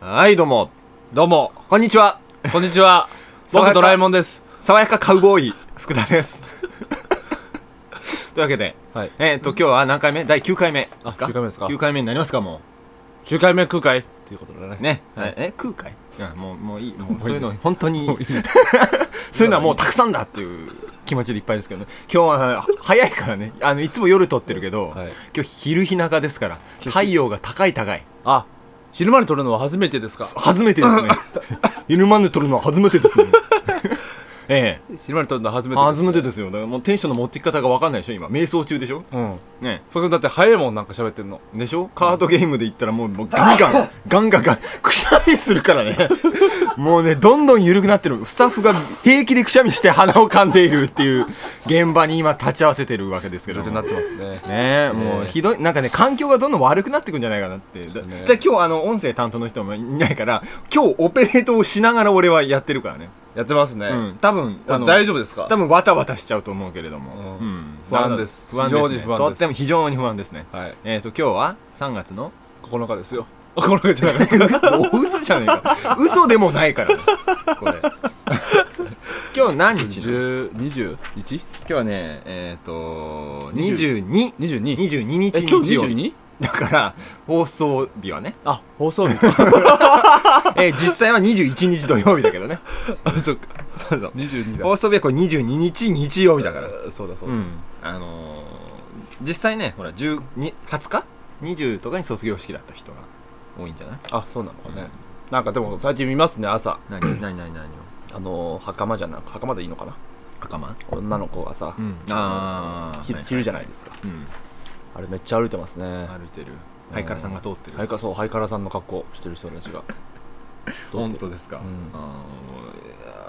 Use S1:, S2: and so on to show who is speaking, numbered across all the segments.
S1: はい、どうも。
S2: どうも、
S1: こんにちは。
S2: こんにちは。
S1: 爽や か
S2: 僕ドラえもんです。
S1: 爽やかカウボーイ、福田です。 というわけで、
S2: はい。
S1: えっ、と、今日は何回目第9回目ですか
S2: あ9回目ですか
S1: 9回目になりますか、も
S2: 9回目空海っていうことだね。
S1: う。ね。
S2: はい
S1: え、空海うん、もう、もういい。も
S2: もういうい
S1: そういうの、
S2: です
S1: 本当に
S2: もういいです。
S1: そういうのはもうたくさんだっていう気持ちでいっぱいですけどね。今日は早いからね。あの、いつも夜撮ってるけど、
S2: はい
S1: 今日昼日中ですから、太陽が高い高い。
S2: あ、昼間に撮るのは初めてですか
S1: 初めて ですね。昼間で撮るのは初めてですね。 ええ。
S2: 昼間に撮るのは初めて
S1: 初めて
S2: で
S1: ですよ。だからもうテンションの持ってき方が分かんないでしょ、今。瞑想中でしょ
S2: す。うん。
S1: ね
S2: 福君だって早いもん、なんか喋ってんの。
S1: えでしょカードゲームで言ったらもうもうガンガ ン、ガンガンガン、くしゃみするからね。もうね、どんどん緩くなってる。スタッフが平気でくしゃみして鼻を噛んでいるっていう現場に今立ち会わせてるわけですけど
S2: 状
S1: も。
S2: 態になってますね。
S1: ねえ、もう
S2: ねえ
S1: ひどい、なんかね、環境がどんどん悪くなってくんじゃないかなって。だ
S2: ね
S1: だ今日、あの、音声担当の人もいないから、今日オペレートをしながら俺はやってるからね。
S2: やってますね。
S1: うん、多分、あ
S2: あの
S1: の、
S2: 大丈夫ですか
S1: 多分、わたわたしちゃうと思うけれども。
S2: うん
S1: うん
S2: 不安です
S1: 不安です、ね。
S2: 非常に不安です
S1: とっても非常に不安ですね。
S2: はい。
S1: えっ、と、今日は3月 の
S2: 9日ですよ。9日じゃない。
S1: 嘘嘘じゃねえか。嘘でもないからね、こ れ。今日何日だ今
S2: 10 21?
S1: 日はね、えっ、と、
S2: 20
S1: 22。
S2: 22?
S1: 22
S2: え、
S1: 日
S2: 今
S1: 日
S2: 日
S1: 曜日
S2: 22?
S1: だから放送日はね、
S2: あ、放 送日か。
S1: えー実際は21日土曜日だけどね
S2: あ、そっか。
S1: そう そう
S2: 22だ。
S1: 放送日はこれ22日日曜日だから
S2: あそうだそう
S1: う
S2: だ。
S1: んあのー、実際ねほら10に20日20とかに卒業式だった人が多いんじゃない
S2: あ、そうなのかね。なんかでも最近見ますね、朝。
S1: 何何何何を
S2: あのー、袴じゃなく、袴でいいのかな
S1: 赤間
S2: 女の子がさ、
S1: うんああ
S2: ひ昼じゃないですか、
S1: うん
S2: あれめっちゃ歩いてますね
S1: 歩いてるハイカラさんが通ってる
S2: ハイカそうハイカラさんの格好してる人たちが
S1: 本当ですか、
S2: うん
S1: あ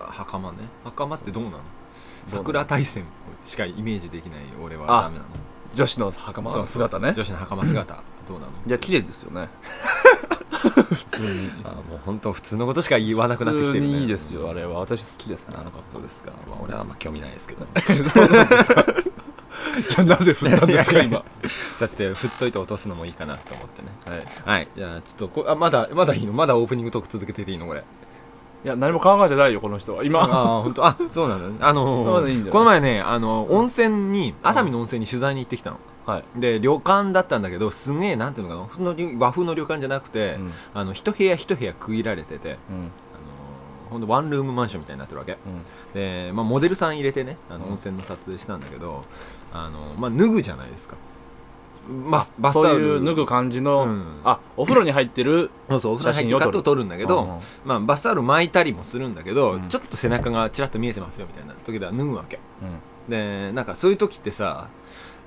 S1: ー袴ね袴ってどうなの
S2: どう
S1: 桜大戦しかイメージできない俺はダメなの
S2: 女子の袴の姿ね
S1: 女子の袴姿どうなの
S2: いや綺麗ですよね普通に
S1: あもう本当普通のことしか言わなくなってきてる
S2: 普
S1: ね
S2: 通にいいですよあれは私好きですね あの格
S1: そ
S2: 好
S1: うですか、まあ、俺はあんま興味ないですけど
S2: じ ゃあなぜ振ったんですか今は
S1: だって振っといて落とすのもいいかなと思ってね
S2: い
S1: はいじゃあちょっとこあまだまだいいのまだオープニングトーク続けてていいのこれ
S2: いや何も考えてないよこの人は
S1: あ
S2: 今
S1: あ本当あそうなんだねあ
S2: ま
S1: の
S2: だいいんじゃない
S1: この前ねあの温泉に熱海の温泉に取材に行ってきたの
S2: はい、
S1: で旅館だったんだけどすげえなんていうのかな普通の和風の旅館じゃなくて、
S2: うん
S1: あの一部屋一部屋区切られてて
S2: うん
S1: あのほんとワンルームマンションみたいになってるわけ
S2: うん
S1: で、まあ、モデルさん入れてねあの
S2: うん
S1: 温泉の撮影したんだけど、あのまあ、脱ぐじゃないですか、ま、バス
S2: そう
S1: タオル
S2: いう脱ぐ感じの、
S1: うん
S2: あお風呂に入ってる
S1: そうそうお風呂
S2: 写
S1: 入っ
S2: 真
S1: て
S2: を
S1: カッ
S2: 撮る
S1: トを撮るんだけど、
S2: うんうん
S1: まあ、バスタオル巻いたりもするんだけど、
S2: うん
S1: ちょっと背中がちらっと見えてますよみたいな時では脱ぐわけ
S2: うん
S1: でなんかそういう時ってさ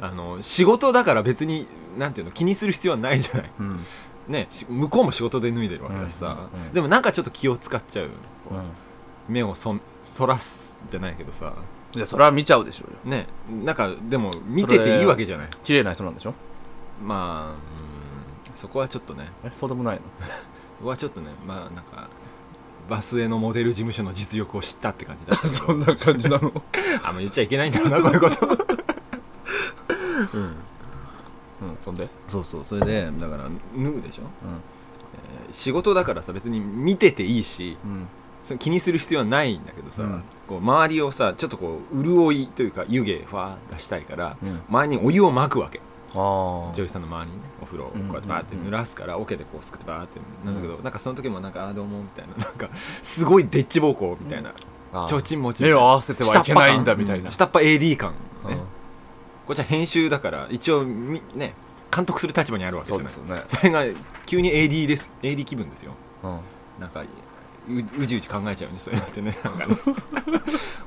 S1: あの仕事だから別になんていうの気にする必要はないじゃない、
S2: うん
S1: ね、し向こうも仕事で脱いでるわけだしさ、
S2: うんうんうん
S1: でもなんかちょっと気を使っちゃうよねこう
S2: うん
S1: 目をそんそらすじゃないけどさ
S2: いやそれは見ちゃうでしょうよ
S1: ねなんかでも見てていいわけじゃない
S2: 綺麗な人なんでしょ
S1: まあうんそこはちょっとね
S2: えそうでもないの
S1: そこはちょっとねまあなんかバスへのモデル事務所の実力を知ったって感じだったけど
S2: そんな感じなの
S1: あんま言っちゃいけないんだろうなこういうこと、うん、
S2: うんそんで
S1: そうそうそれでだから脱ぐでしょ、
S2: うん
S1: えー仕事だからさ別に見てていいし
S2: うん
S1: その気にする必要はないんだけどさ、
S2: うん
S1: こう周りをさちょっとこう潤いというか湯気ファー出したいから
S2: うん
S1: 周りにお湯をまくわけ
S2: ああ
S1: 女優さんの周りにねお風呂をこうやってバーって濡らすから桶でこうすくってバーってなんだけど、なんかその時もなんかあーどうもみたいななんかすごいでっち奉公みたいな
S2: あー
S1: ちょうちんもちみた
S2: 目
S1: い
S2: を
S1: な
S2: 合わせてはいけないんだみたいな
S1: 下っ端感うん下っ端 AD 感
S2: うん
S1: ねこっちは編集だから一応みね監督する立場にあるわけじ
S2: そ
S1: ゃ
S2: う
S1: ない
S2: ですよね
S1: それが急に AD です AD 気分ですよ
S2: うん
S1: なんかううじうじ考えちゃうねそういうのってねなんかね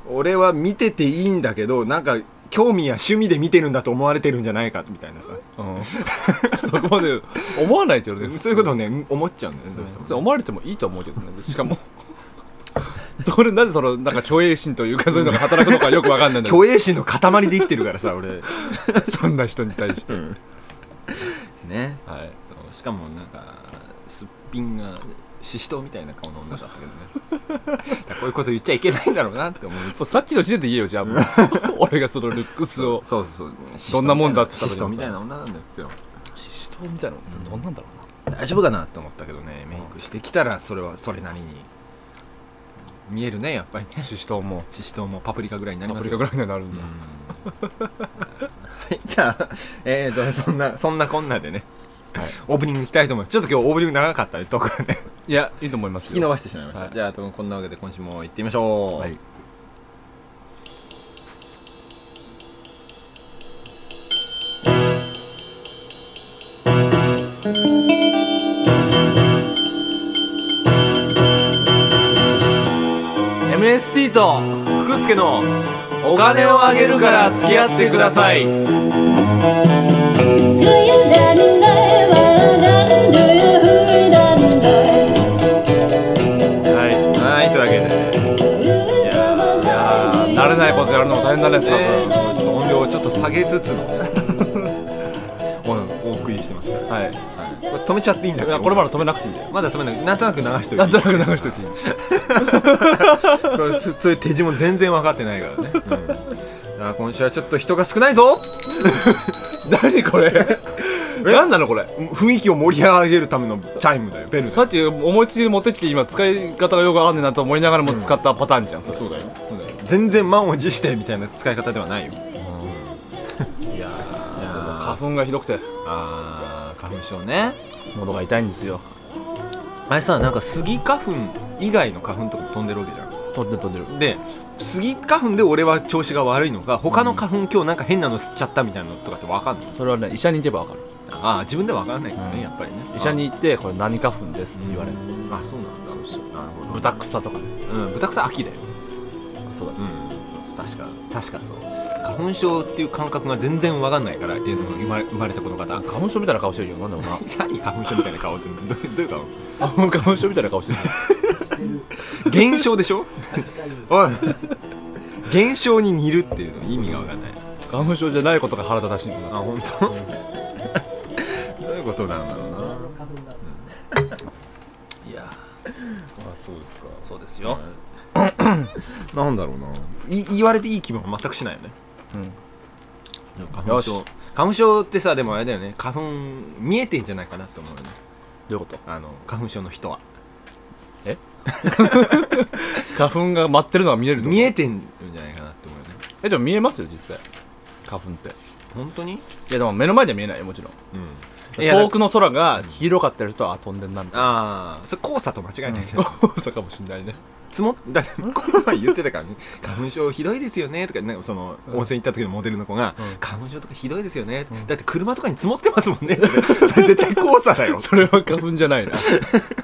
S1: 俺は見てていいんだけどなんか興味や趣味で見てるんだと思われてるんじゃないかみたいなさ
S2: そこまで思わないけどね
S1: そういうことを
S2: ね
S1: ね思っちゃうんだよねどうしてもね
S2: それ思われてもいいと思うけどねしかも そこでなぜそのなんか虚栄心というかそういうのが働くのかよくわかんないんだけど
S1: 虚栄心の塊で生きてるからさ 俺、
S2: そんな人に対して
S1: ね
S2: はい
S1: しかもなんかすっぴんがししとうみたいな顔の女だったけ どねだからこういうこと言っちゃいけないんだろうなって思う
S2: もうさっきの時点で言えよじゃあもう 俺がそのルックスを
S1: そうそう
S2: どんなもんだって
S1: ししとうみたいな
S2: 多
S1: 女なんですよ
S2: シシトみたいなのってどんなんだろう
S1: 大丈夫かなと思ったけどねメイクしてきたらそれはそれなりに見えるねやっぱりね
S2: シシトウも
S1: シシトウもパプリカぐらいになり
S2: ア
S1: ま
S2: プ
S1: す
S2: リカ
S1: よ
S2: ぐらいにはなるんだ、
S1: はい じゃあ、えー、とそんなそんなこんなでね、
S2: はい
S1: オープニングいきたいと思いますちょっと今日オープニング長かったですとかね
S2: いやいいと思いますよ
S1: 引き伸ばしてしまいました、
S2: はい
S1: じゃあとこんなわけで今週も行ってみましょう、
S2: はい
S1: MST と福助のお金をあげるから付き合ってください
S3: Do you dun dun dun dun? Do you hoo dun dun?
S2: はい
S1: はいというわけでね
S2: いやー慣れないことやるのも大変だね多
S1: もうちょっ
S2: 分
S1: と音量をちょっと下げつつの おお送りしてますから、
S2: はい
S1: はい、これ止めちゃっていいんだ
S2: い
S1: けど
S2: やこれまだ止めなくていいんだよ
S1: まだ止めないなんとなく流しておい
S2: なん
S1: て
S2: となく流してていい
S1: これつそういう手順も全然分かってないからね、うん、あ今週はちょっと人が少ないぞ
S2: 何これ 何なのこれ
S1: 雰囲気を盛り上げるためのチャイムだよベルだ
S2: さっき思いつきで持ってきて今使い方がよくあんねんなと思いながらも使ったパターンじゃんそれ
S1: そうだよそうだよ全然満を持してみたいな使い方ではないよ
S2: いや
S1: いやー
S2: でも花粉がひどくて
S1: あー花粉症ね
S2: 喉が痛いんですよ
S1: あれさなんかスギ花粉以外の花粉とかも飛んでるわけじゃん
S2: 飛んでる飛んでる
S1: でスギ花粉で俺は調子が悪いのか他の花粉今日なんか変なの吸っちゃったみたいなのとかって分かんない
S2: それはね医者に行けば分かる
S1: ああ自分では分かんないからね、
S2: うん
S1: やっぱりね
S2: 医者に行ってこれ何花粉ですって言われる
S1: うんあそうなんだそうそうなるほど
S2: 豚草とかね
S1: うん豚草秋だよ
S2: そうだね
S1: うん、確か確かそう花粉症っていう感覚が全然わかんないから、えーの生まれ生まれたこの方
S2: 花粉症みたいな顔してるよなんだろうな
S1: 何花粉症みたいな顔ってどうどういう顔
S2: 花粉症みたいな顔してる
S1: 減少でしょおい減少に似るっていうの意味がわかんない
S2: 花粉症じゃないことが腹立たしいんだ
S1: あ
S2: な
S1: 本当どういうことなんだろうな、うんいやあそうですか
S2: そうですよ、
S1: なんだろうない言われていい気分は全くしないよね
S2: うん
S1: 花粉症
S2: よ
S1: 花粉症ってさでもあれだよね花粉見えてんじゃないかなと思うよね
S2: どういうこと
S1: あの花粉症の人は
S2: 花粉が舞ってるのが見えるってこと
S1: 見えてんじゃないかなって思うよね
S2: えでも見えますよ実際花粉ってい
S1: 本当に
S2: やでも目の前では見えないよもちろん
S1: うん
S2: 遠く
S1: の
S2: の空が広かったりするとあ飛んでんなみたい
S1: ああそれ黄砂と間違えない、
S2: な
S1: ね
S2: 黄砂かもしんないね
S1: 積もっだってこの前言ってたからね花粉症ひどいですよねとかなんかその
S2: うん
S1: 温泉行った時のモデルの子が、
S2: うん
S1: 花粉症とかひどいですよね、
S2: うん
S1: だって車とかに積もってますもんねそれ絶対黄砂だよ
S2: それは花粉じゃ ないな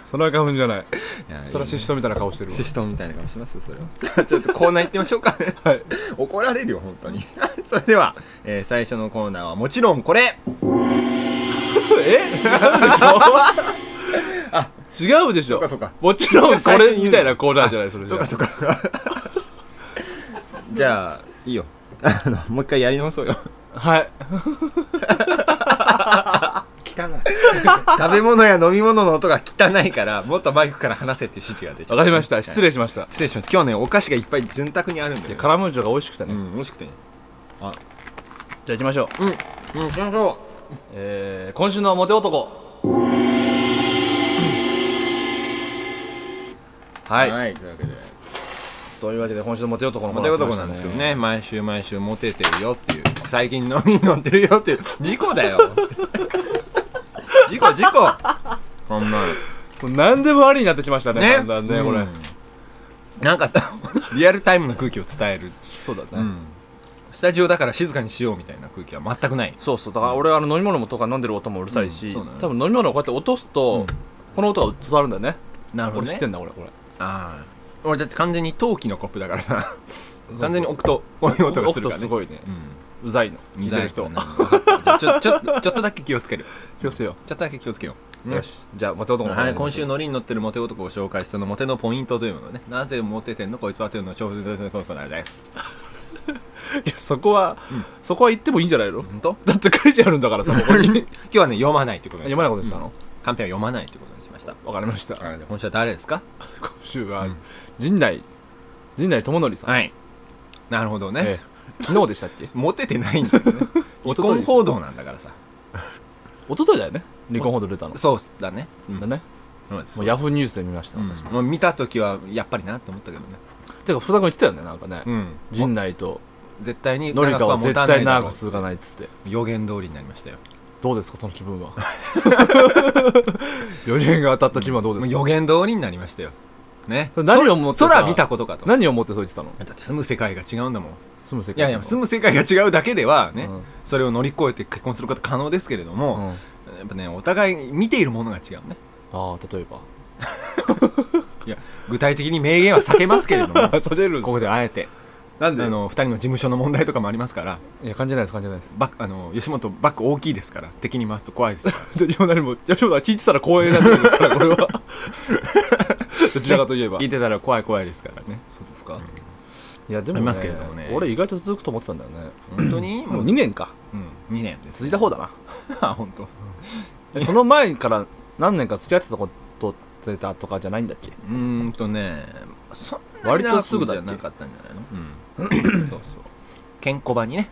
S2: それは花粉じゃない それはシシ
S1: ト
S2: トみたいな顔してるわ
S1: シシトみたいな顔しますよそれはじゃあちょっとコーナー行ってみましょうかね
S2: はい
S1: 怒られるよ本当に それでは、えー最初のコーナーはもちろんこれ
S2: え違 うでし
S1: そう
S2: ょ違うでし
S1: か
S2: ょ
S1: そうか
S2: もちろんこ
S1: 最初に
S2: れ
S1: 言う
S2: みたいなコーナーじゃないそれじ
S1: そう
S2: ゃ
S1: か
S2: あ
S1: そうか そうかじゃあいいよあのもう一回やり直そうよ
S2: はい
S1: 汚い 食べ物や飲み物の音が汚いからもっとマイクから話せっていう指示が出ちゃう
S2: わかりました失
S1: 礼
S2: 礼しました
S1: 失礼しました今日ねお菓子がいっぱい潤沢にあるんだ
S2: いや
S1: よ
S2: カラムーチョが美味しくて
S1: う
S2: ね
S1: ん美味しくてね
S2: じゃあ行きましょう
S1: うんうん行きましょ
S2: えー今週のモテ男は、
S1: はいい、はい、というわけで
S2: というわけで今週のモテ男の
S1: モ
S2: コ
S1: テ
S2: ーナー
S1: 男なんですけどね毎週毎週モテてるよっていう最近飲みに飲んでるよっていう事故 だよ事故事故ほんま
S2: これ何でもありになってきましたね
S1: ね
S2: だんだんね、こ
S1: う
S2: れ
S1: んなんかリアルタイムの空気を伝える、
S2: そうだね、
S1: スタジオだから静かにしようみたいな空気は全くない
S2: そうそうだから俺あの飲み物もとか飲んでる音もうるさいし、
S1: うんそうだね
S2: 多分飲み物をこうやって落とすと、
S1: うん
S2: この音が伝わるんだよね
S1: な
S2: 俺知って
S1: ん
S2: んだ俺これ
S1: ああ俺だって完全に陶器のコップだからさ
S2: そう
S1: 完全に置くとこういう音がする
S2: 音と
S1: から
S2: す
S1: ね
S2: ごいね
S1: う
S2: うざいの
S1: ん
S2: 聞いてる人は
S1: うざいからねちょちょちょちょっとだけ気をつける
S2: 気をつけよ
S1: ちょっとだけ気をつけよ
S2: う、
S1: う
S2: よしじゃあモテ男のコーナ
S1: は
S2: ー
S1: い、今週
S2: の
S1: ノリに乗ってるモテ男を紹介したのモテのポイントというものねなぜモテてんのこいつはというのを調布でこのコーナーです
S2: いやそこは、そこは言ってもいいんじゃないの
S1: 本当
S2: だって書いてあるんだ からさここに
S1: 今日はね読まないということに
S2: 読まないことにした
S1: うん
S2: の、
S1: カンペは読まないということにしました
S2: わかりました、
S1: はい今週は誰ですか
S2: 今週は、
S1: うん
S2: 陣内陣内智則さん、
S1: はいなるほどね、
S2: ええ昨日 でしたっけ
S1: モテてないんだよね離
S2: 一昨日
S1: 婚報道なんだからさ
S2: 一昨日だよね離婚報道出たの
S1: そうだね、うん
S2: だね
S1: うん
S2: もうヤフーニュースで見ました
S1: う
S2: よ
S1: ん
S2: 私も
S1: もう見た時はやっぱりなって思ったけどね、
S2: てか福田君言ってたよねなんかね
S1: うん、
S2: 陣内と
S1: 絶対に
S2: 紀香
S1: 長く
S2: は
S1: は持
S2: 絶
S1: たな
S2: 対
S1: いだ
S2: 長
S1: ろう
S2: く続かないっつって
S1: 予言通りになりましたよ
S2: どうですかその気分は 予言が当たった気分はどうですか、
S1: 予言通りになりましたよね
S2: それ何を思ってさ
S1: 空空見たことかとだ
S2: 何を思ってそう言ってたの
S1: って住む世界が違うんだもん
S2: 住む世界
S1: いやいや住む世界が違うだけではね、
S2: うん
S1: それを乗り越えて結婚すること可能ですけれど
S2: う
S1: も、
S2: ん、あ
S1: やっぱねお互い見ているものが違うね
S2: あ例えば
S1: いや具体的に名言は避けますけれどもこ
S2: それる
S1: こであえて
S2: なんで
S1: あの2人の事務所の問題とかもありますから
S2: いや感じないです感じないです
S1: バックあの吉本バック大きいですから敵に回すと怖い ですから
S2: で今何も吉本は聞いてたら光栄なんですからこれ はどちらかとい えば
S1: 聞いてたら怖い怖いですからね
S2: そうですか、いやでも、
S1: あ
S2: ね、
S1: りますけれどもね
S2: 俺意外と続くと思ってたんだよね
S1: 本当に
S2: もう2年か
S1: うん、2年です
S2: 続いた方だな
S1: あ本当。
S2: えその前から何年か付き合ってたことってたとかじゃないんだっけ
S1: うーんとねそんなに
S2: 割
S1: 長
S2: と
S1: く
S2: すぐだっ
S1: じ
S2: け
S1: ゃなかったんじゃないのうんそうそう健康場にね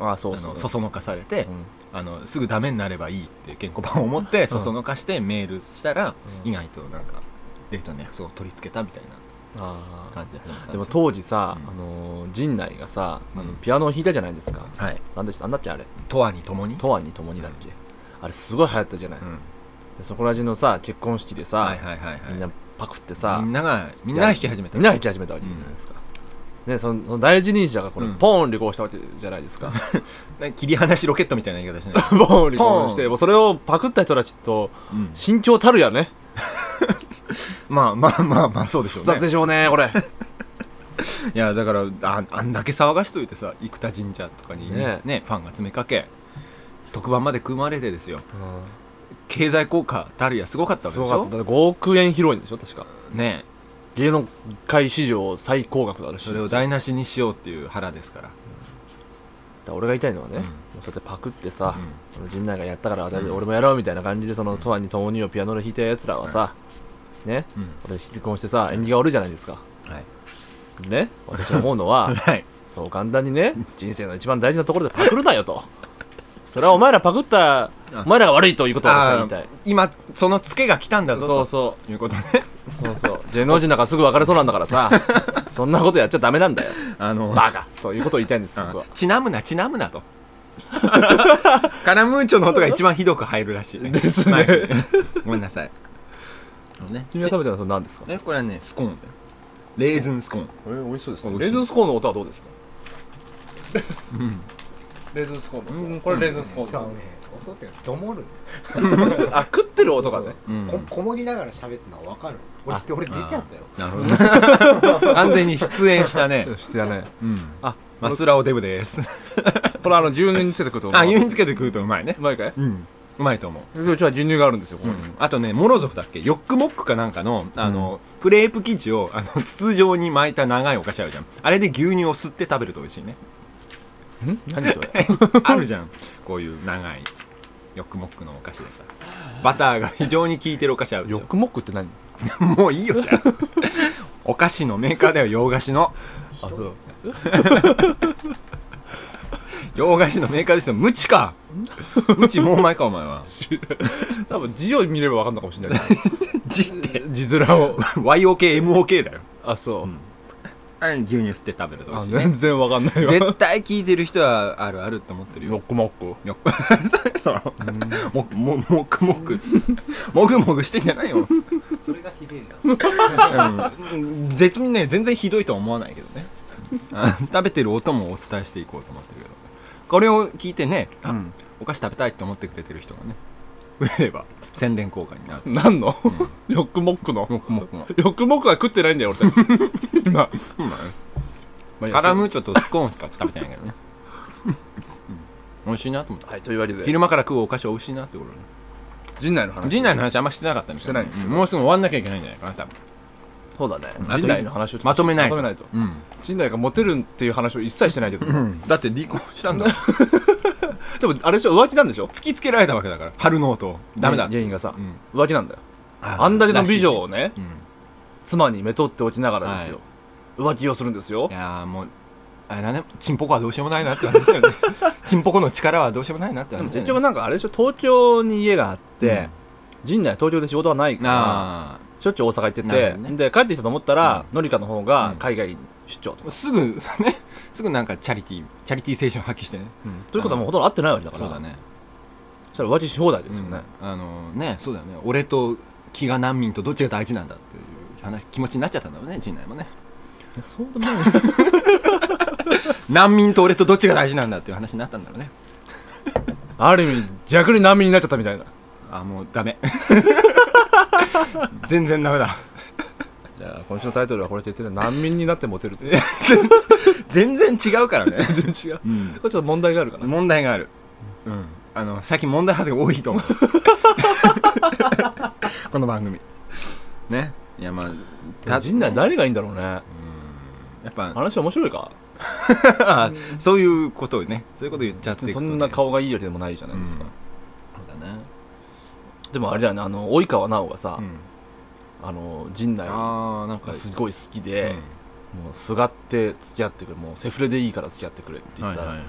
S2: ああそう
S1: あ
S2: そう
S1: のそそのかされて、
S2: うん
S1: あのすぐダメになればいいって健康版を思ってそそのかしてメールしたら、
S2: うん
S1: 意外となんかデートの約束を取り付けたみたい
S2: あ
S1: な
S2: あ
S1: 感じで始まったんすよ
S2: でも当時さ、
S1: うん
S2: あのー陣内がさ、あ
S1: う
S2: の
S1: ん
S2: ピアノを弾いたじゃないですか、
S1: はい
S2: なんでしたなんだっけあれ
S1: 「とわにともに」
S2: 「とわにともに」だっけ、あれすごい流行ったじゃない、
S1: うん、
S2: でそこら中のさ結婚式でさ、
S1: はいはいはいはい
S2: みんなパクってさ
S1: みんながみんなが弾き始めた
S2: みんなが弾き始めたわけじゃないですか、でそのその第一人者がこれ、
S1: うん
S2: ポーン離婚したわけじゃないですか
S1: なんか切り離しロケットみたいな言い方し ない、
S2: ポーン離婚してもうそれをパクった人たちと
S1: うん
S2: 心境たるやね
S1: まあまあまあまあそうでしょう
S2: 複雑
S1: ね
S2: でしょうねこれ
S1: いやだからああんだけ騒がしといてさ生田神社とかにね
S2: ね
S1: ファンが詰めかけ特番まで組まれてですよ
S2: うん
S1: 経済効果たるやすごかったわ
S2: す
S1: けで
S2: ご
S1: し
S2: かっ
S1: ょ
S2: ただって5億円披露宴でしょ確か
S1: ね
S2: 芸能界史上最高額だらしい
S1: それを
S2: だか
S1: 台無しにしようっていう腹ですから
S2: ら俺が言いたいのはね、
S1: うん
S2: もうそうやってパクってさ、
S1: うん
S2: その陣内がやったから私
S1: うん
S2: 俺もやろうみたいな感じでそのとわにともにをピアノで弾いたやつらはさ、ね
S1: うん
S2: 俺離婚してさ縁起が悪いじゃないですか
S1: はい
S2: ね私が思うのは
S1: はい
S2: そう簡単にね人生の一番大事なところでパクるなよとそれはお前らパクったお前らが悪いということを私は言いた
S1: あ
S2: い
S1: ー今そのツケが来たんだぞ
S2: そう
S1: と
S2: そ
S1: いうことね
S2: うそうそう芸能人なんかすぐ別れそうなんだから さそんなことやっちゃダメなんだよ
S1: あの
S2: バカということを言いたいんです
S1: あ
S2: 僕は
S1: ちなむなちなむな とカラムーチョの音が一番ひどく入るらしい、ね、
S2: ですね
S1: マイクでごめんなさいあのね
S2: 君が食べたのはそれ何ですか
S1: えこれはねスコーンだよレーズンスコーン
S2: これ美味しそうです
S1: ね
S2: レーズンスコーンの音はどうですか
S1: ん
S2: レーズンスコー
S1: うん
S4: そうね、音ってどもる
S2: あ食ってる音がね
S1: うん
S4: ここもりながら喋ってのは分かる俺
S2: あ
S4: ちょっと俺出ちゃったよ
S1: なるほど 完全に出演したね
S2: してやね
S1: うん
S2: あ
S1: マスラオデブです
S2: これあの牛乳につけてくると
S1: あ牛乳つけて食うとうまいね
S2: うまいかいう
S1: うんうまいと思う
S2: ちは牛乳があるんですよここに
S1: あとねモロゾフだっけヨックモックかなんかのあの、クレープ生地をあの筒状に巻いた長いお菓子あるじゃんあれで牛乳を吸って食べると美味 しいね
S2: ん何それ
S1: あるじゃんこういう長いヨックモックのお菓子でさバターが非常に効いてるお菓子あるでし
S2: ヨ
S1: ょ
S2: ックモックって何
S1: もういいよ じゃあお菓子のメーカーだよ洋菓子の
S2: あそう
S1: 洋菓子のメーカーですよ無知か無知もう前かお前は
S2: 多分字を見れば分かんのかもしれないけ
S1: 字って
S2: ど字面を
S1: YOKMOK だよ
S2: あそう、
S1: んあれ牛乳吸って食べると美
S2: あ
S1: 味しいね
S2: 全然分かんないわ
S1: 絶対聞いてる人はあるあるって思ってるよ
S2: ヨックモック
S1: よっ そうもももくもくもぐもぐしてんじゃないよ、
S4: それがひでえな
S1: うん、絶ね全然ひどいとは思わないけ どねあ食べてる音もお伝えしていこうと思ってるけどこれを聞いてね、あ
S2: うん
S1: お菓子食べたいって思ってくれてる人がね増えれば宣伝効果になる
S2: 何の、 ヨックモックの
S1: もくもくも
S2: ヨックモックは食ってないんだよ俺たち 今まあいいや
S1: カラムーチョとスコーンしか食べてないけどね、うん、美味しいなと思った
S2: はいというわけで
S1: 昼間から食うお菓子美味しいなってことね
S2: 陣内の話
S1: 陣内の話あんましてなかったんです
S2: してないんですけど
S1: もうすぐ終わんなきゃいけないんじゃないかな多分
S2: そうだね
S1: あと
S2: 陣内の話をちょっ
S1: まとめない
S2: ま
S1: と
S2: とめないと
S1: うん
S2: 陣内がモテるっていう話を一切してないけど、
S1: だって離婚したん だ
S2: でもあれでしょ浮気なんでしょ
S1: 突きつけられたわけだから春ノートをダメだ
S2: 原因がさ、
S1: うん
S2: 浮気なんだよ
S1: あ
S2: あんだけの美女をね
S1: うん
S2: 妻にめとっておきながらですよ、浮気をするんですよ
S1: いやーもうあれだねチンポコはどうしようもないなって話だ よねチンポコの力はどうしようもないなって
S2: でも
S1: 話だ
S2: 結
S1: よ
S2: 局
S1: ね
S2: なんかあれでしょ東京に家があって、陣内は東京で仕事はないから
S1: あ
S2: しょっちゅう大阪行って
S1: なる
S2: て、
S1: ほどね
S2: で帰ってきたと思ったら、のりかの方
S1: う
S2: が
S1: ん
S2: 海外出張と
S1: あすぐねすぐなんかチャリティーチャリティー精神を発揮してね
S2: ということはもうほとんど会ってないわけだから
S1: そうだね
S2: それは浮気し放題ですよね、
S1: うんあのねそうだよね俺と飢餓難民とどっちが大事なんだっていう話気持ちになっちゃったんだろうね陣内 もね
S2: いやそうでもない
S1: 難民と俺とどっちが大事なんだっていう話になったんだろうね
S2: ある意味逆に難民になっちゃったみたいな
S1: あもうダメ 全然ダメだ
S2: じゃあ今週のタイトルはこれと言ってる難民になってモテる
S1: 全然違うからね、
S2: 全然違うこ
S1: うん
S2: れちょっと問題があるかな
S1: 問題がある、うん、あの最近問題発言多いと思う この番組ねいやまあた
S2: 陣内何がいいんだろうね
S1: うんやっぱ
S2: 話面白いか
S1: そういうことをねそういうこと言っちゃっていく
S2: そ
S1: とね
S2: んな顔がいいよりでもないじゃないですか、
S1: そうだね、
S2: でもあれだよねあの及川奈緒がさ、
S1: うん
S2: あの陣内が
S1: ああなんか
S2: すごい好きで、もうすがって付き合ってくれもうセフレでいいから付き合ってくれって
S1: うん
S2: 言っ
S1: は
S2: て
S1: い
S2: た
S1: はいはいはい
S2: ら、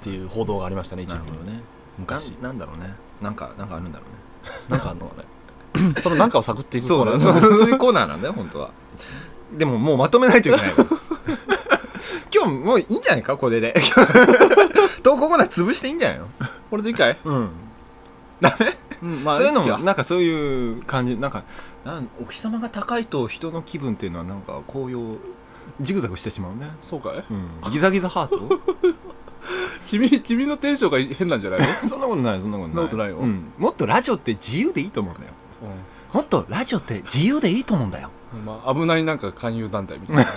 S2: っていう報道がありましたね一
S1: なる
S2: 部
S1: ほどね
S2: 昔
S1: なんなんだろうねなんかなんかあるんだろうね
S2: なんかあの ねそのなんかを探っていく
S1: そうだ
S2: コー
S1: ね
S2: ナー
S1: そうそういうコーナーなんだよ本当はでももうまとめないといけない 今日もういいんじゃないかこれ で投稿コーナー潰していいんじゃないの
S2: これでいいかい、
S1: うんダメ
S2: うんま
S1: そういうの
S2: いい
S1: も
S2: か
S1: なんかそういう感じなんかなんお日様が高いと人の気分っていうのはなんか紅葉ジグザグしてしまうね、
S2: そうかい
S1: うん、ギザギザハート
S2: 君君のテンションが変なんじゃないの、
S1: そんなことないそんなことない
S2: そんなことないよ
S1: うん、もっとラジオって自由でいいと思うんだよもっとラジオって自由でいいと思うんだよ
S2: まあ、危ないなんか勧誘団体みたいな
S1: うん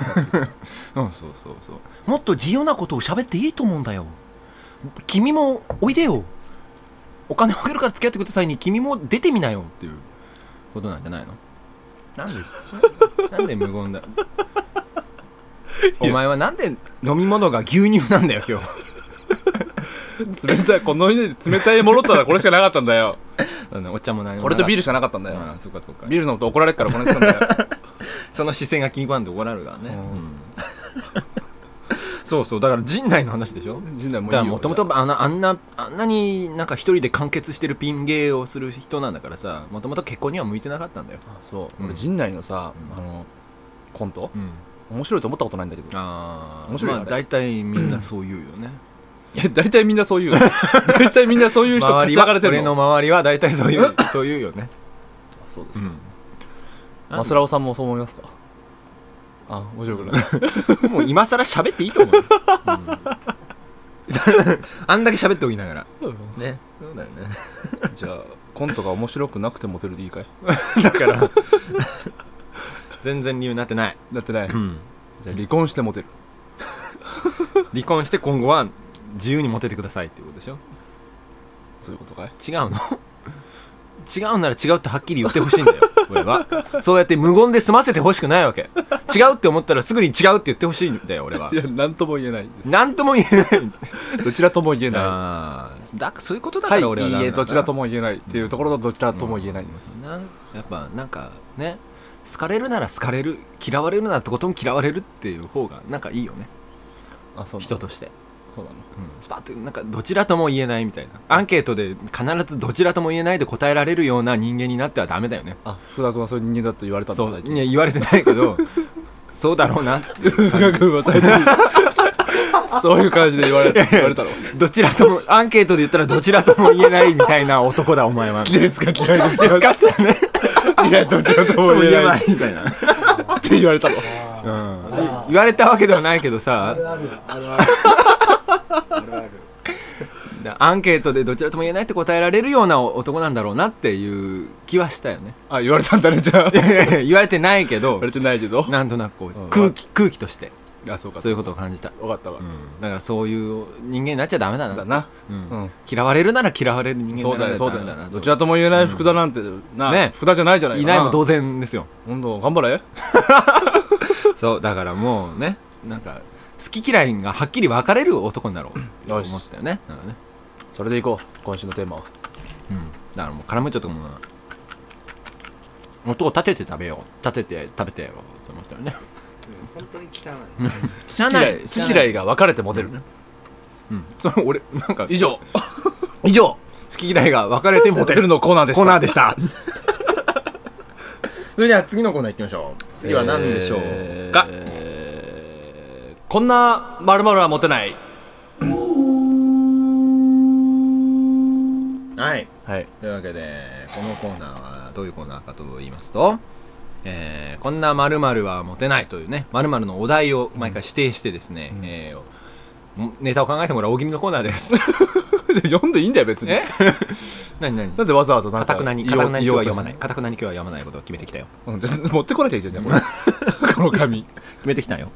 S1: そうそうそうもっと自由なことを喋っていいと思うんだよ君もおいでよお金をあげるから付き合ってくださいに君も出てみなよっていうことなんじゃないのなんでなんで無言だお前はなんで飲み物が牛乳なんだよ今日
S2: 冷たいこの家で冷たいものったらこれしかなかったんだよ
S1: あのお茶も何も
S2: これとビー
S1: ル
S2: ルしかなかったんだよ、
S1: ああそうかそうか
S2: ビール飲むと怒られるからこれにしたんだよ
S1: その視線が気に食わんで怒られるからね、
S2: うん
S1: うん そうそうだから陣内の話でしょ
S2: 陣内も
S1: だ
S2: ういいよ
S1: からもともとあのあんなあんなになんか一人で完結してるピン芸をする人なんだからさもともと結婚には向いてなかったんだよ、
S2: あそう、
S1: うん
S2: 俺陣内のさ、
S1: うん
S2: あのコント
S1: うん、
S2: 面白いと思ったことないんだけど
S1: ああ
S2: 面白いよ
S1: まあ
S2: あれ
S1: 大体みんなそう言うよね、
S2: いや大体みんなそういう 大体みんなそういう人
S1: 周
S2: 勝
S1: り
S2: ち上
S1: は
S2: がれて
S1: 俺
S2: る
S1: の
S2: の
S1: 周りは大体そう言うそう言うよね、
S2: あそうで
S1: う
S2: すか、
S1: ん、
S2: マスラオさんもそう思いますかあ面白く ない
S1: もう今更喋っていいと思うよ、うん、あんだけ喋っておきながらねそうだよね
S2: じゃあコントが面白くなくてモテるでいいかい
S1: だから全然理由になってない、
S2: だってね
S1: うん、
S2: じゃあ離婚してモテる
S1: 離婚して今後は自由にモテてくださいっていうことでしょ
S2: そういうことかい
S1: 違うの 違うなら違うってはっきり言ってほしいんだよ 俺はそうやって無言で済ませてほしくないわけ違うって思ったらすぐに違うって言ってほしいんだよ俺はい
S2: や何とも言えないで
S1: 何とも言えない
S2: すどちらとも言えな
S1: あーだそういうこと
S2: い
S1: だか
S2: はい
S1: ら俺はい
S2: いえどちらと
S1: も
S2: も言えないっていうところとどちらとも言えないんです、
S1: なんやっぱなんかね好かれるなら好かれる嫌われるならとことん嫌われるっていう方がなんかいいよね
S2: あそうなの
S1: 人として、
S2: そうなの
S1: スパッとなんかどちらとも言えないみたいなアンケートで必ずどちらとも言えないで答えられるような人間になってはダメだよね
S2: あ福田君はそういう人間だと言われたんだ
S1: そう
S2: 最
S1: い
S2: 近
S1: や言われてないけ どそうだろうなっていう
S2: 福田君は最近 そういう感じで言われた言われたの
S1: どちらともアンケートで言ったらどちらとも言えないみたいな男だお前は好きですか嫌いですかってね
S2: いやどちらとも言えない
S1: みたいな、
S2: って言われたの
S1: うん、言われたわけではないけど
S4: あ
S1: さ
S4: るあるあ るあるあるある
S1: アンケートでどちらとも言えないって答えられるような男なんだろうなっていう気はしたよ ね
S2: あ言われたんだねじゃあ言
S1: 言われてないけど
S2: われてないけど
S1: なんとなくこ
S2: う
S1: うん空気空気として
S2: あそうか
S1: そういうことを感じた、
S2: 分かったわ
S1: うん、だからそういう人間になっちゃダメだな
S2: だな
S1: うん
S2: うん
S1: 嫌われるなら嫌われる人間に
S2: そう
S1: な
S2: だ
S1: ら
S2: よそうだ
S1: ダメな
S2: よどちらとも言えない福田なんてな
S1: ね
S2: 福田じゃないじゃない
S1: いないも同然ですよ
S2: 今度頑張れ
S1: そうだからもうねなんか好き嫌いがはっきり分かれる男になろうと
S2: よし
S1: 思ったよねだからね、
S2: それでいこう今週のテーマは
S1: うん、だからもうカラムーチョとかも音を立てて食べよう立てて食べてよと思ったよね
S4: 本当に汚
S2: 好き嫌い好き嫌いが分かれてモテる
S1: うん、それ俺なんか
S2: 以上
S1: 以上好き嫌いが分かれてモ
S2: モ
S1: テ
S2: テる
S1: る
S2: のコーナーでし
S1: コ
S2: た
S1: ーナーでした それでは次のコーナー行きましょう次は何でしょうか、
S2: えーこんなまるはモテない
S1: はい
S2: はい
S1: というわけでこのコーナーはどういうコーナーかと言いますと、えーこんな〇〇はモテないというね〇〇のお題を毎回指定してですね、
S2: うん
S1: えーもネタを考えてもらう大喜利のコーナーです
S2: 読んでいいんだよ別に
S1: え 何何
S2: なんでわざわざなん
S1: かた
S2: か
S1: くなにか
S2: 言お
S1: た
S2: う
S1: くなに今日は読
S2: 言おうと
S1: まないかたくなに今日は読まないことを決めてきた よ
S2: うんじゃあ持ってこなきゃいけないじゃん これこの紙
S1: 決めてきたよ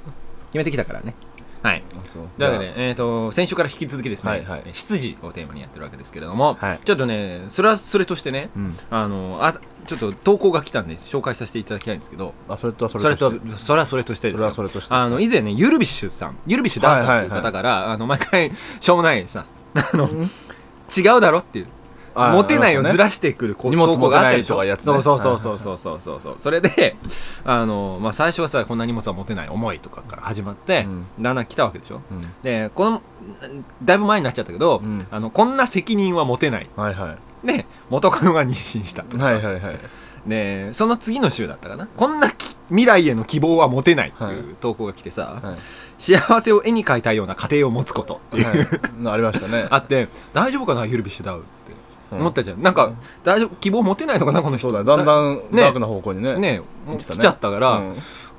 S1: 決めてきたからねはい
S2: そう
S1: だからね、えー、と先週から引き続きですね、
S2: はいはい
S1: 執事をテーマにやってるわけですけれども、
S2: はい
S1: ちょっとねそれはそれとしてね、
S2: うん
S1: あのあちょっと投稿が来たんで紹介させていただきたいんですけど
S2: あそれとはそれ
S1: それと
S2: して
S1: それはそれとしてですよ
S2: それはそれとして
S1: あの以前ねゆるびっしゅさんゆるびっしゅダーさんという
S2: はいはいは
S1: 方
S2: い
S1: から、あの毎回しょうもないさあの違うだろっていう
S2: あー
S1: モテないを
S2: なるほどね
S1: ずらしてくるこ
S2: 荷物
S1: 投稿があったでしょ
S2: 持てないとかやつね
S1: そうそうそうそうそうそうそうそうそれであの、まあ、最初はさこんな荷物は持てない思いとかから始まって、
S2: う
S1: だんだん来たわけでしょ
S2: うん
S1: でこのだいぶ前になっちゃったけど、
S2: うん
S1: あのこんな責任は持てない
S2: はいは
S1: で元カノが妊娠した
S2: い
S1: と
S2: はいはいはい
S1: でその次の週だったかなこんなき未来への希望は持てないって
S2: はい
S1: いう投稿が来てさ、
S2: はい
S1: 幸せを絵に描いたような家庭を持つことっていう、
S2: はいのありましたね
S1: あって大丈夫かなゆるびしダウって
S2: うん
S1: 思ったじゃん、なんか大丈夫希望持てないのかなこの人
S2: そうだだんだん
S1: ね
S2: ダークな方向にね
S1: ねもう
S2: 来てた
S1: 来
S2: ね
S1: ちゃったか
S2: う
S1: ら、
S2: ん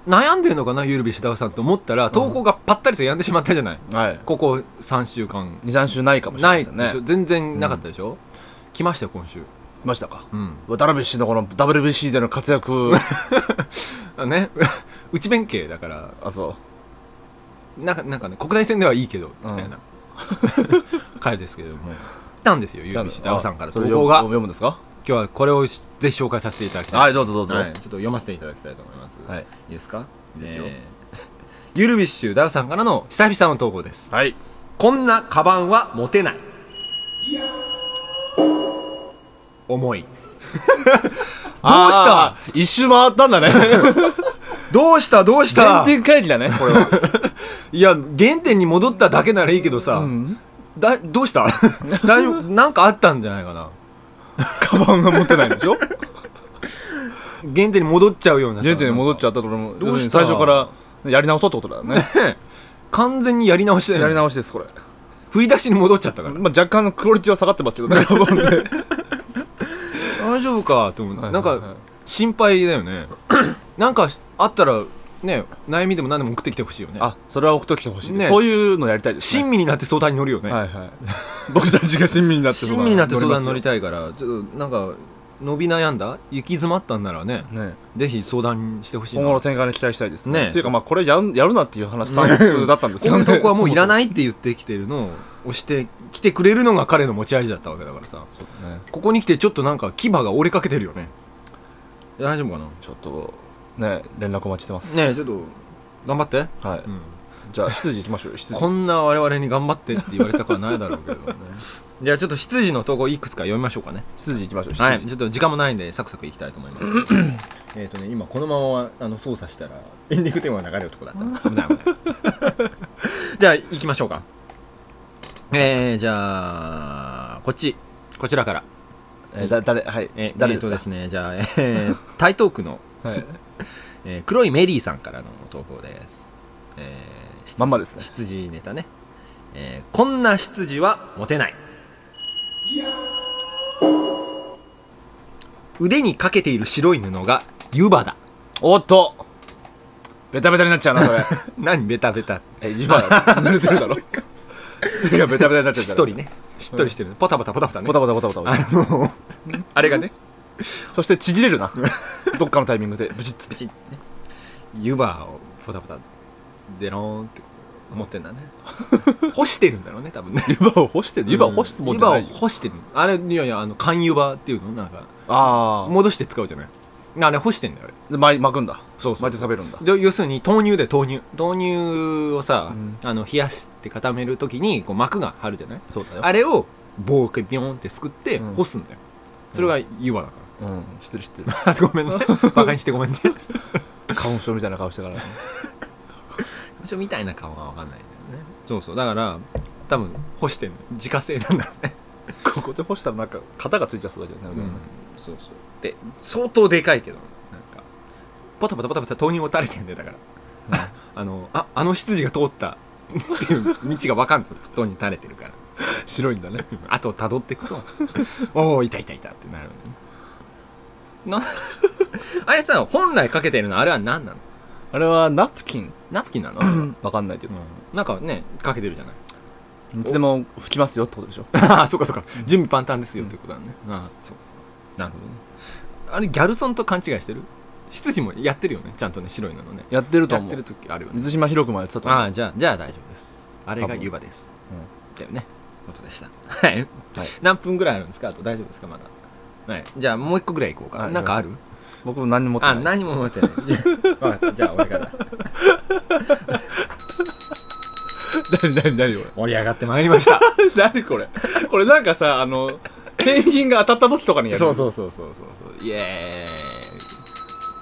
S1: 悩んでるのかなゆるびしダウさんと思ったら投稿がパッタリとやんでしまったじゃない、
S2: はい
S1: ここ3週間
S2: 23週ないかもしれ
S1: な
S2: ない
S1: い
S2: ですね
S1: でしょ全然なかったでしょ、来ましたよ今週
S2: 来ましたか
S1: うん
S2: ダルビッシュのこの WBC での活 躍
S1: あね 内弁慶だから
S2: あそ
S1: なんかなんかね国内線ではいいけどみたい な、彼ですけれども来たんですよ
S2: う
S1: ゆうびしダ
S2: あ
S1: オさんから
S2: そ
S1: 投
S2: れ
S1: 稿
S2: 読
S1: が今
S2: む読むんですか
S1: 日はこれをぜひ紹介させていただきたい
S2: はいどうぞどうぞ
S1: はいちょっと読ませていただきたいと思います、
S2: はい
S1: いいですか
S2: ですよ
S1: えーゆるびっしゅダウさんからの久々の投稿です
S2: はい
S1: こんなカバンは持てない重いどうした
S2: あー一周回ったん だね
S1: どうしたどうした
S2: 全然回帰だねこれ は
S1: いや原点に戻っただけならいいけどさ、
S2: うん
S1: だどうした 大丈夫なんかあったんじゃないかなカバンが持 てないでしょ原点に戻っちゃうようなさ
S2: 原点に戻っち
S1: な
S2: ゃっ
S1: ん
S2: たところも
S1: どうした
S2: 要するに最初からやり直そうってこ とだね
S1: か完全にやり直しだよ、ね、
S2: やり直しですこれ
S1: 振り出しに戻っちゃったから
S2: まあ若干のクオリティは下がってますけどね多分ね
S1: 大丈夫かと思う、
S2: はいはいはい
S1: なんか心配だよ ねなんかあったらね悩みでも何でも送ってきてほしいよね
S2: あそれは送っときてほしいね
S1: ね
S2: そういうのやりたいですね
S1: 親身になって相談に乗るよね、
S2: はいはい 僕たちが親身になって
S1: 親身になって相談に乗り
S2: い
S1: たいからちょっとなんか伸び悩んだ行き詰まったんならね
S2: ね
S1: ぜひ相談してほしいな
S2: 今後の展開に期待したいですね。
S1: ね
S2: っていうか、まあ、これやんやるなっていう話、スタンスだったんですよ
S1: こ
S2: ね。
S1: のとこはもういら
S2: い。
S1: ないって言ってきてるのを押してきてくれるのが彼の持ち味だったわけだからさ
S2: ね
S1: ここに来てちょっとなんか牙が折れかけてるよね大丈夫かな
S2: ちょっと、ね、連絡お待ちしてます。
S1: ねえちょっと頑張って、
S2: はい。じゃあ、執事行きましょうよ、執事。
S1: こんな我々に頑張ってって言われたくはないだろうけどね じゃあちょっと執事の投稿いくつか読みましょうかね
S2: 執事行きましょう、執事。
S1: はいちょっと時間もないんでサクサクいきたいと思い ますえっとね今このままあの操作したらエンディングテーマが流れるとこだったな危ない危ない じゃあ行きましょうかえー、じゃあこっちこちらから、
S2: えーだ誰、はい。
S1: えー、誰
S2: 誰です
S1: と
S2: か
S1: ですねじゃあ、えー、台東区の、
S2: はい。
S1: えー黒いメリーさんからの投稿です、えー、
S2: まんまですね
S1: 羊羊ネタね、えー、こんな執事はモテない腕にかけている白い布が湯葉だ
S2: おっとベタベタになっちゃう な、それ。
S1: 何ベタベタ
S2: え、今、濡れてるだろ。 それがベタベタになっちゃう
S1: し
S2: じゃ
S1: っ
S2: ん
S1: とり。ねしっとりしてるねポタポタポタポタね
S2: ポタポタポタポタ。
S1: あの あれがね
S2: そしてちぎれるな。どっかのタイミングで。ブチッ
S1: プチッね湯葉をポタポタでろーンって思ってん だね干してるんだろうね多分ね
S2: 湯葉を干してる。湯葉を干すもんじゃない
S1: 湯葉を干してるあれいやいやあの缶湯葉っていうのなんか
S2: ああ。
S1: 戻して使うじゃないあれ干してんだよあれ
S2: で巻い巻くんだ。
S1: そうそう
S2: 巻いて食べるんだ。
S1: で要するに豆乳で豆乳豆乳をさ、
S2: うん
S1: あの冷やして固めるときにこう膜が張るじゃない
S2: そうだよ。
S1: あれを棒でビョーンってすくって
S2: うん
S1: 干すんだよ、それが湯葉だか
S2: うん、知ってる知ってる。
S1: ら、ごめんねバカにしてごめんね
S2: 花粉症みたいな顔してからね。
S1: 所みたいな顔がわかんないんだよねそうそうだから多分干してんの自家製なんだろうね、
S2: ここで干したらなんか型がついちゃそうだけどね、
S1: そうそうで相当でかいけどなんかポタポタポタポタ豆乳を垂れてんだよだから あのああの羊が通ったっていう道がわかんない豆乳垂れてるから
S2: 白いんだね
S1: 後をたどってい くとおおいたいたいたってなるのねな あれさ本来かけてるのあれは何なの
S2: あれはナプキン
S1: ナプキンなの、
S2: わかんないけど、
S1: なんかねかけてるじゃない
S2: いつでも吹きますよってことでしょ
S1: ああそっかそっか準備万端ですよってことだね、ああそうなるほどねあれギャルソンと勘違いしてる羊もやってるよねちゃんとね白いののね
S2: やってると
S1: やっ
S2: 思
S1: てる
S2: う
S1: 時あるよね
S2: 水島ひろくもやってたと思
S1: あ
S2: う
S1: あじゃあじゃあ大丈夫ですあれが湯葉です、だよねことでしたはい、
S2: はい
S1: 何分ぐらいあるんですかあと大丈夫ですかまだはいじゃあもう一個ぐらいいこうか、
S2: はい
S1: なんかある
S2: 僕も何も持って
S1: あ
S2: ない
S1: 何も持って ないじゃあわかったじゃあ俺 から
S2: 何何何これ
S1: 盛り上がってまいりました
S2: 何これこれなんかさあの景品が当たった時とかにやる
S1: そうそうそうそうそうそうイエーイ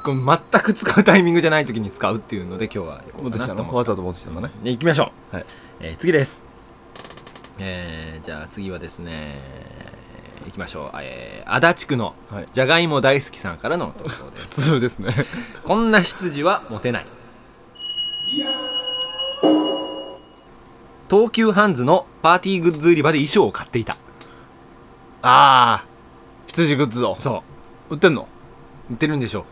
S1: これ全く使うタイミングじゃない時に使うっていうので今日は行こ
S2: 持
S1: う
S2: って
S1: か
S2: き
S1: なと
S2: たの
S1: 思
S2: わ
S1: って
S2: ざと持ってきたんだね
S1: で行きましょう、
S2: はい
S1: えー次ですえーじゃあ次はですね行きましょう、えー足立区の
S2: はい
S1: じゃがいも大好きさんからの投稿です
S2: 普通ですね
S1: こんな羊は持てない東急ハンズのパーティーグッズ売り場で衣装を買っていた
S2: ああ羊グッズを
S1: そ
S2: 売ってんの
S1: う売ってるんでしょ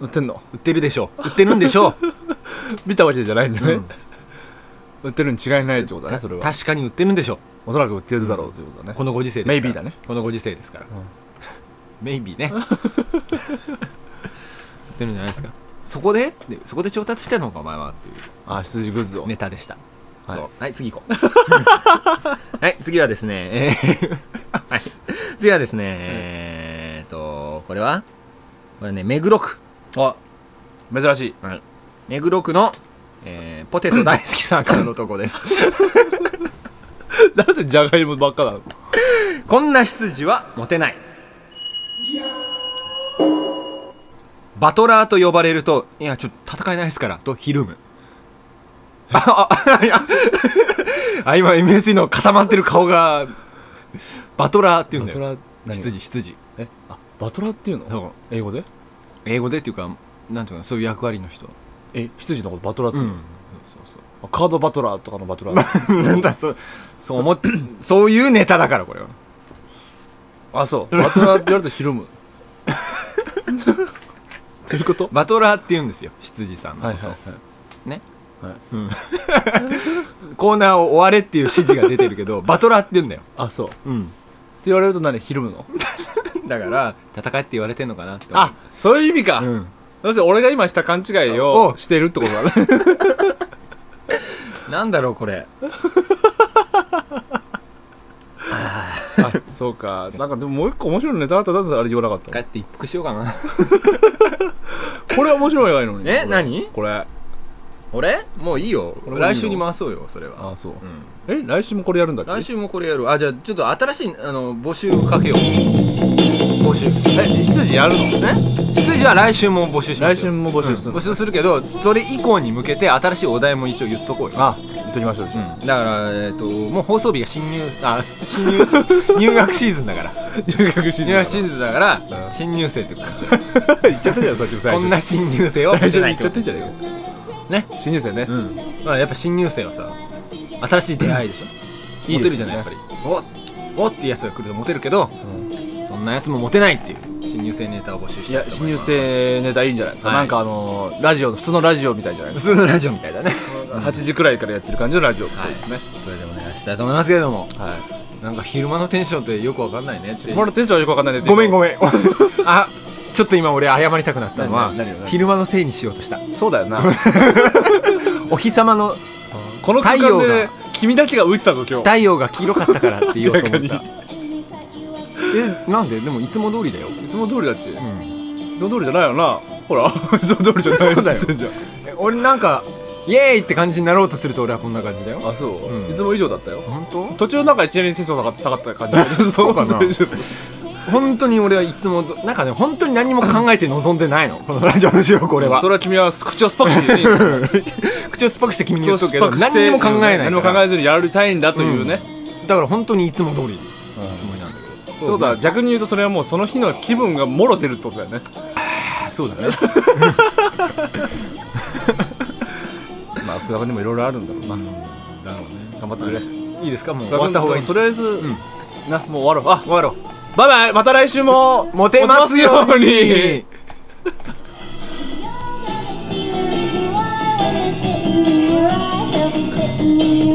S2: 売ってんの
S1: う売ってるでしょう売ってるんでしょ
S2: 見たわけじゃないんだ
S1: う、
S2: ね、売ってるに違いないってことだねそれは
S1: 確かに売ってるんでしょ
S2: おそらく売ってるだろうということだ
S1: う
S2: ね
S1: このご時世ですから
S2: メイビーだね
S1: このご時世ですから、メイビー ね売ってるんじゃないですかそこでってそこで調達してたのかお前はっていう
S2: ああ羊グッズを
S1: ネタでした。
S2: はい
S1: そう はい、次 行こう。はい、次はですね、 えーはい、次はですね、えーっと、これはこれね、目黒区。
S2: あ珍しい
S1: 目黒区の、えーポテト大好きさんからのとこです。
S2: なぜじゃがいもばっかなの
S1: こんな羊はモテない。バトラーと呼ばれると、いや、ちょっと戦えないですから、とひるむ。あ、 あ、いや、あ、今 MSE の固まってる顔が、バトラーって言うんだよ。
S2: ラ何
S1: 羊羊
S2: えあバトラーっていうの
S1: そう
S2: 英語で
S1: 英語でっていうかなんていうかそういう役割の人
S2: え羊のことバトラーって
S1: う
S2: い
S1: ん
S2: うの、あカードバトラーとかのバトラー
S1: そうそう なんだそうそう思っそういうネタだからこれは
S2: あそう バトラーって言われるとひるむ そういうこと
S1: バトラーって言うんですよ羊さんの
S2: はい
S1: こと、
S2: はいはい
S1: ね
S2: はい
S1: うん コーナーを終われっていう指示が出てるけ どバトラーって言うんだよ、
S2: あそうって
S1: うん、
S2: 言われると何ひるむの
S1: だから戦えって言われてんのかなって思う
S2: あそういう意味か、
S1: うん、
S2: 要するに俺が今した勘違い
S1: お
S2: を
S1: う
S2: してるってことだね
S1: なんだろうこれ
S2: あそうかなんかでももう一個面白いネタあったらだってあれ言わなかっ
S1: 帰
S2: た
S1: って一服しようかな
S2: これ面白い映画いのに
S1: え
S2: これ
S1: 何
S2: これ
S1: 俺もういいよ
S2: 俺もいいよ
S1: 来週に回そうよそれは
S2: あそう
S1: うん
S2: え来週もこれやるんだっけ
S1: 来週もこれやるあじゃあちょっと新しいあの募集をかけよう募集え羊やるのね羊は来週も募集します
S2: 来週も募集する
S1: うん募集するけどそれ以降に向けて新しいお題も一応言っとこうよ
S2: あ言っときましょうじ
S1: う
S2: ゃ
S1: ん
S2: あ、
S1: だから、えっともう放送日が新入あ 新入入学シーズンだから
S2: 留学し
S1: 入学シーズンだから、
S2: うん
S1: 新入生ってことでしょ
S2: 言っちゃったじゃんさっきも最
S1: こ
S2: 初
S1: んな新入生を
S2: 最初
S1: 持
S2: に言っちゃってて
S1: なん
S2: じゃねえ
S1: ね
S2: か新入生ね、
S1: いってことうん、まあ、やっぱ新入生はさ新しい出会いでしょ、
S2: いい
S1: モ
S2: で
S1: テ
S2: す
S1: るじ
S2: ね
S1: ゃないやっぱりおおってやつが来るとモテるけど
S2: うん
S1: そんなやつもモテないっていう新入生ネタを募集し
S2: い
S1: た
S2: や
S1: と
S2: 新
S1: 思い
S2: 入
S1: ます
S2: 生ネタいいんじゃないですか、
S1: はい
S2: なんかあのーラジオ普通のラジオみたいじゃないで
S1: 普通
S2: す
S1: のラジオみたいだね
S2: か、8時くらいからやってる感じのラジオっぽいですね
S1: それでお願いしたいと思いますけれども
S2: はい、
S1: なんか昼間のテンションってよくわかんないねって
S2: まだ店長はよくわかんないね
S1: ごめんご
S2: め
S1: めんあちょっと今俺謝りたくなったのは
S2: 何何何何
S1: 昼間のせいにしようとした
S2: んそうだよな
S1: お日様の
S2: この空
S1: 太陽
S2: 間
S1: が
S2: で君だけが浮いてたぞ今日
S1: 太陽が黄色かったからって言おうと思った えなんででもいつも通りだよ、
S2: いつも通りだって、
S1: うん、
S2: いつも通りじゃないよなほ らいつも通りじゃない
S1: そうだよ
S2: って言ってんじゃん
S1: え俺なんかイエーイって感じになろうとすると俺はこんな感じだよ
S2: あそう、
S1: うん
S2: いつも以上だったよ
S1: 本当
S2: 途中なんかいきなりテンション下がって下がった感 じ
S1: そうかな
S2: 大丈夫
S1: 本当に俺はいつもどなんかね本当に何も考えて望んでないのこのラジオの収録俺は
S2: それは君は口を酸っぱくしてね
S1: 口を酸っぱくして君に
S2: 口
S1: 言
S2: を
S1: っと
S2: 酸
S1: く
S2: っ
S1: け
S2: ぱ
S1: ど
S2: くして
S1: 何にも考えない
S2: 何
S1: から
S2: も考えずにやりたいんだというね、
S1: だから本当にいつも通りつもりなんだ
S2: ってことは逆に言うとそれはもうその日の気分がもろ出るってことだよね
S1: そう だね
S2: まあ福田にもいろいろあるんだろうな、頑張ってくれ
S1: いいですかもう
S2: 終
S1: 終わった方がいい
S2: とりあえず、
S1: ん
S2: なもう終わろう
S1: 終わろ
S2: あバイバイまた来週も
S1: うモテますように
S3: Everything in your eyes, everything in your